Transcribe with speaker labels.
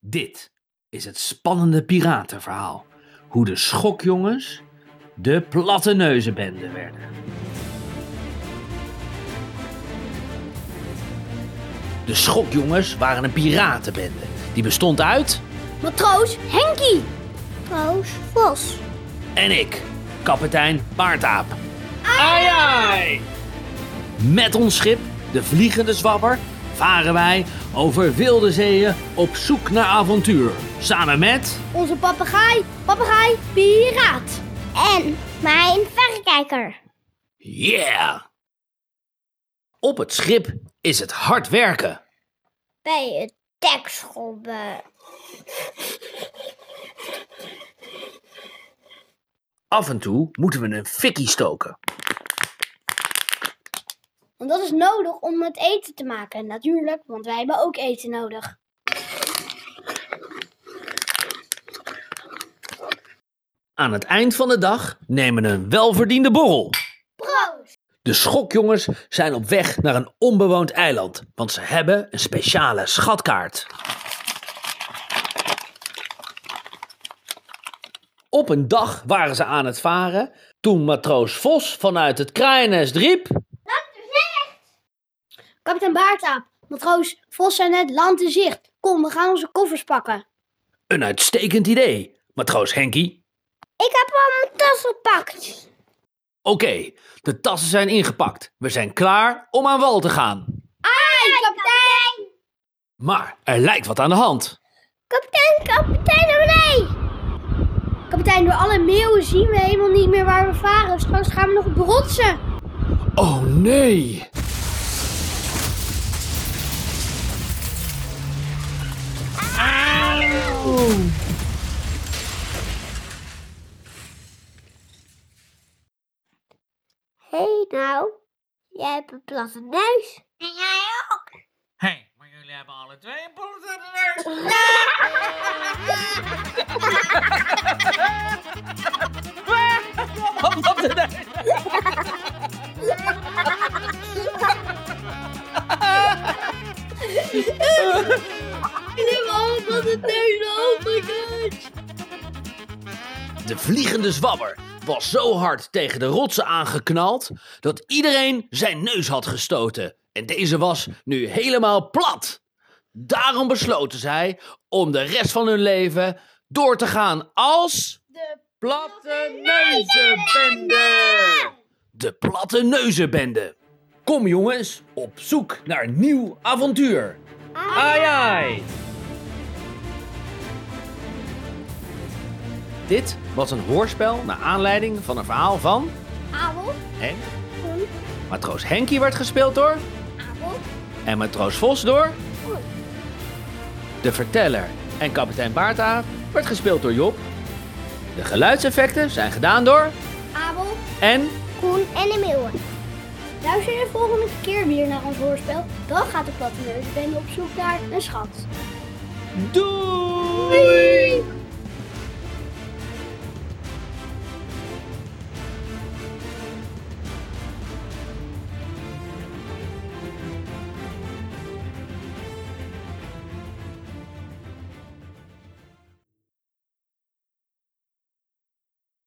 Speaker 1: Dit is het spannende piratenverhaal. Hoe de schokjongens de platte neuzenbende werden. De schokjongens waren een piratenbende. Die bestond uit
Speaker 2: Matroos Henkie. Matroos Vos.
Speaker 1: en ik, kapitein Baardaap. Ai ai! Met ons schip, de Vliegende Zwabber, varen wij over wilde zeeën op zoek naar avontuur. Samen met...
Speaker 2: Onze papegaai, papegaai piraat. En mijn verrekijker.
Speaker 1: Yeah! Op het schip is het hard werken.
Speaker 2: Bij het eh. dekschobben.
Speaker 1: Af en toe moeten we een fikkie stoken.
Speaker 2: En dat is nodig om het eten te maken, natuurlijk, want wij hebben ook eten nodig.
Speaker 1: Aan het eind van de dag nemen we een welverdiende borrel.
Speaker 2: Proost!
Speaker 1: De schokjongens zijn op weg naar een onbewoond eiland, want ze hebben een speciale schatkaart. Op een dag waren ze aan het varen toen matroos Vos vanuit het kraaiennest riep...
Speaker 2: Kapitein Baartaap, matroos Vos en het land in zicht. Kom, we gaan onze koffers pakken.
Speaker 1: Een uitstekend idee, matroos Henkie.
Speaker 2: Ik heb al mijn tas gepakt.
Speaker 1: Oké, de tassen zijn ingepakt. We zijn klaar om aan wal te gaan.
Speaker 2: Ai, kapitein!
Speaker 1: Maar er lijkt wat aan de hand.
Speaker 2: Kapitein, kapitein, naar beneden! Kapitein, door alle meeuwen zien we helemaal niet meer waar we varen. Straks gaan we nog brotsen.
Speaker 1: Oh nee!
Speaker 2: Hé hey, nou, jij hebt een platte neus. En jij ook.
Speaker 3: Hé, hey, maar jullie hebben alle twee een bullet in de neus.
Speaker 2: Ik heb al een platte neus, oh my god.
Speaker 1: De vliegende zwabber was zo hard tegen de rotsen aangeknald dat iedereen zijn neus had gestoten. En deze was nu helemaal plat. Daarom besloten zij om de rest van hun leven door te gaan als.
Speaker 2: De
Speaker 1: Platte Neuzenbende! De Platte Neuzenbende. Kom jongens, op zoek naar nieuw avontuur. Ai ai! Dit was een hoorspel naar aanleiding van een verhaal van...
Speaker 2: avond,
Speaker 1: En matroos Henkie werd gespeeld door...
Speaker 2: avond,
Speaker 1: En matroos Vos door...
Speaker 2: Oei.
Speaker 1: De verteller en kapitein Baarta werd gespeeld door Job. De geluidseffecten zijn gedaan door...
Speaker 2: avond.
Speaker 1: En...
Speaker 2: Koen en de meeuwen. Luister de volgende keer weer naar ons hoorspel. Dan gaat de platte neus op zoek naar een schat.
Speaker 1: Doei!